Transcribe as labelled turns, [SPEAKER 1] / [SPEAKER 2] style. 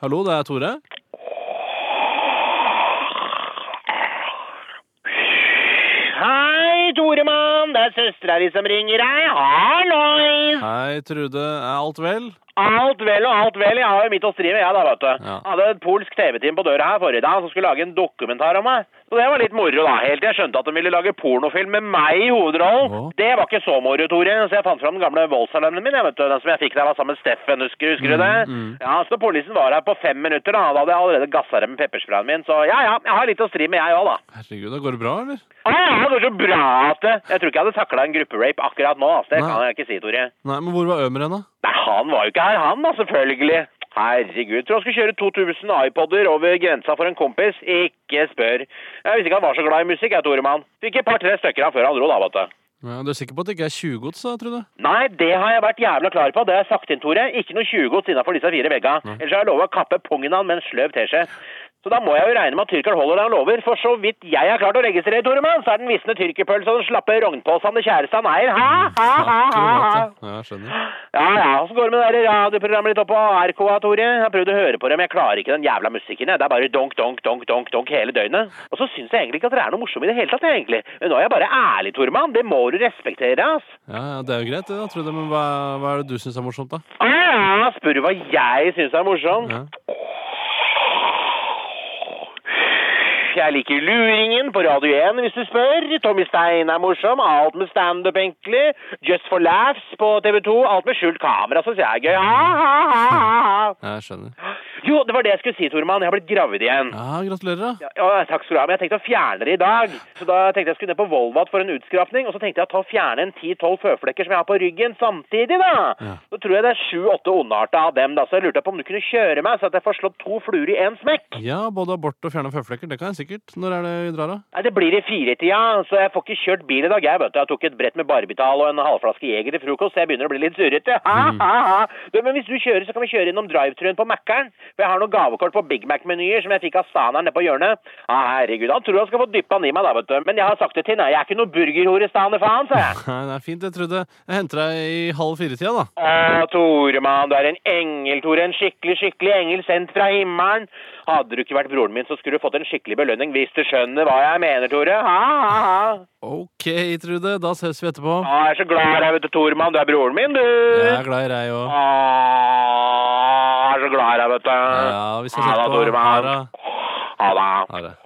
[SPEAKER 1] Hallo, det er Tore.
[SPEAKER 2] Hei, Toremann, det er søstera di som ringer deg. Hallois!
[SPEAKER 1] Hei, Trude. Er alt vel?
[SPEAKER 2] Alt vel og alt vel, jeg har jo mitt å stri med, jeg da, vet du.
[SPEAKER 1] Ja.
[SPEAKER 2] Hadde et polsk TV-team på døra her forrige dag som skulle lage en dokumentar om meg. Så det var litt moro, da. Helt til jeg skjønte at de ville lage pornofilm med meg i hovedrollen.
[SPEAKER 1] Å.
[SPEAKER 2] Det var ikke så moro, Tore, så jeg fant fram den gamle voldssalongen min, jeg, vet du. Den som jeg fikk da jeg var sammen med Steffen, husker, husker du det?
[SPEAKER 1] mm.
[SPEAKER 2] Ja, så politien var her på fem minutter, da. Da hadde jeg allerede gassa dem med peppersprayen min, så ja ja, jeg har litt å stri med, jeg òg, da.
[SPEAKER 1] Herregud, det går det bra, eller?
[SPEAKER 2] Å, det var så bra at det- Jeg tror ikke jeg hadde takla en grupperape akkurat nå. Altså. Det
[SPEAKER 1] Nei.
[SPEAKER 2] kan jeg ikke si, Tore.
[SPEAKER 1] Nei, men hvor var Ømer hen, da?
[SPEAKER 2] Nei, Han var jo ikke her, han da, selvfølgelig. Herregud, tror han skulle kjøre 2000 iPoder over grensa for en kompis. Ikke spør. Jeg visste ikke han var så glad i musikk, jeg, Toremann. Fikk et par-tre stykker av før han dro, da, vet du.
[SPEAKER 1] Ja, du er sikker på at det ikke er 20-gods, da, Trude?
[SPEAKER 2] Nei, det har jeg vært jævla klar på. Det har jeg sagt inn, Tore. Ikke noe 20-gods innafor disse fire vegga. Ellers har jeg lova å kappe pungen han med en sløv teskje. Så da må jeg jo regne med at tyrkeren holder det han lover. For så vidt jeg har klart å registrere, Toremann, så er den visne tyrkerpølsa og den slappe rognposen det kjæreste han eier. Ha, ha, ha, ha, ha.
[SPEAKER 1] Akkurat, ja. Ja, jeg skjønner.
[SPEAKER 2] Ja, ja, så går det med det der radioprogrammet litt opp på RK, Tore. Jeg har prøvd å høre på det, men jeg klarer ikke den jævla musikken. jeg. Det er bare donk, donk, donk, donk, donk hele døgnet. Og så syns jeg egentlig ikke at dere er noe morsomme i det hele tatt, jeg, egentlig. Men nå er jeg bare ærlig, Tormann. Det må du respektere, ass.
[SPEAKER 1] Ja, ja, Det er jo greit, det, da, Trude. Men hva, hva er det du syns er morsomt, da?
[SPEAKER 2] Ja, ja, spør du hva jeg syns er morsomt?
[SPEAKER 1] Ja.
[SPEAKER 2] Jeg liker luringen på Radio 1, hvis du spør. Tommy Stein er morsom. Alt med standup, egentlig. Just for laughs på TV 2. Alt med skjult kamera syns jeg er gøy. Ha, ha, ha, ha, ha.
[SPEAKER 1] Ja, jeg skjønner.
[SPEAKER 2] Jo, det var det jeg skulle si, Tormann. Jeg har blitt gravid igjen.
[SPEAKER 1] Ja, Gratulerer, da.
[SPEAKER 2] Ja, ja, takk skal du ha, men jeg tenkte å fjerne det i dag. Så da tenkte jeg skulle ned på Volvat for en utskrapning, og så tenkte jeg å ta og fjerne en 10-12 føflekker som jeg har på ryggen samtidig, da.
[SPEAKER 1] Ja.
[SPEAKER 2] Så tror jeg det er 7-8 ondarta av dem, da, så jeg lurte på om du kunne kjøre meg, så at jeg får slått to fluer i en smekk.
[SPEAKER 1] Ja, både abort og fjerne føflekker. Det kan jeg sikkert. Når er det vi drar, da?
[SPEAKER 2] Nei, det blir i firetida, så jeg får ikke kjørt bil i dag. Jeg vet du, jeg tok et brett med barbital og en halvflaske jeger til frokost, så jeg begynner å bli litt surrete. Ha, ha, ha. Du, men hvis du kjører, så kan vi kjøre innom drive-truen på Mækkern. For jeg har noen gavekort på Big Mac-menyer som jeg fikk av staneren nede på hjørnet. Ja, herregud, han tror han skal få dyppa han i meg da, vet du. Men jeg har sagt det til han, jeg er ikke noe burgerhore staner, faen, sa jeg.
[SPEAKER 1] Nei, det er fint, jeg trodde Jeg henter deg i halv fire-tida, da.
[SPEAKER 2] Å, Ah, Toremann, du er en engel, Tore. En skikkelig, skikkelig engel sendt fra himmelen. Hadde du ikke vært broren min, så skulle du fått en skikkelig belønning, hvis du skjønner hva jeg mener, Tore. Ha, ha, ha.
[SPEAKER 1] Ok, Trude. Da ses vi etterpå.
[SPEAKER 2] Ja, Ah, jeg er så glad i deg, vet du, Tormann. Du er broren min, du.
[SPEAKER 1] Jeg er glad i deg òg.
[SPEAKER 2] Å, Ah, jeg er så glad i deg, vet du.
[SPEAKER 1] Ja, vi ses
[SPEAKER 2] Ha det,
[SPEAKER 1] etterpå.
[SPEAKER 2] Tormann.
[SPEAKER 1] Ha det.
[SPEAKER 2] Ha det.
[SPEAKER 1] Ha det.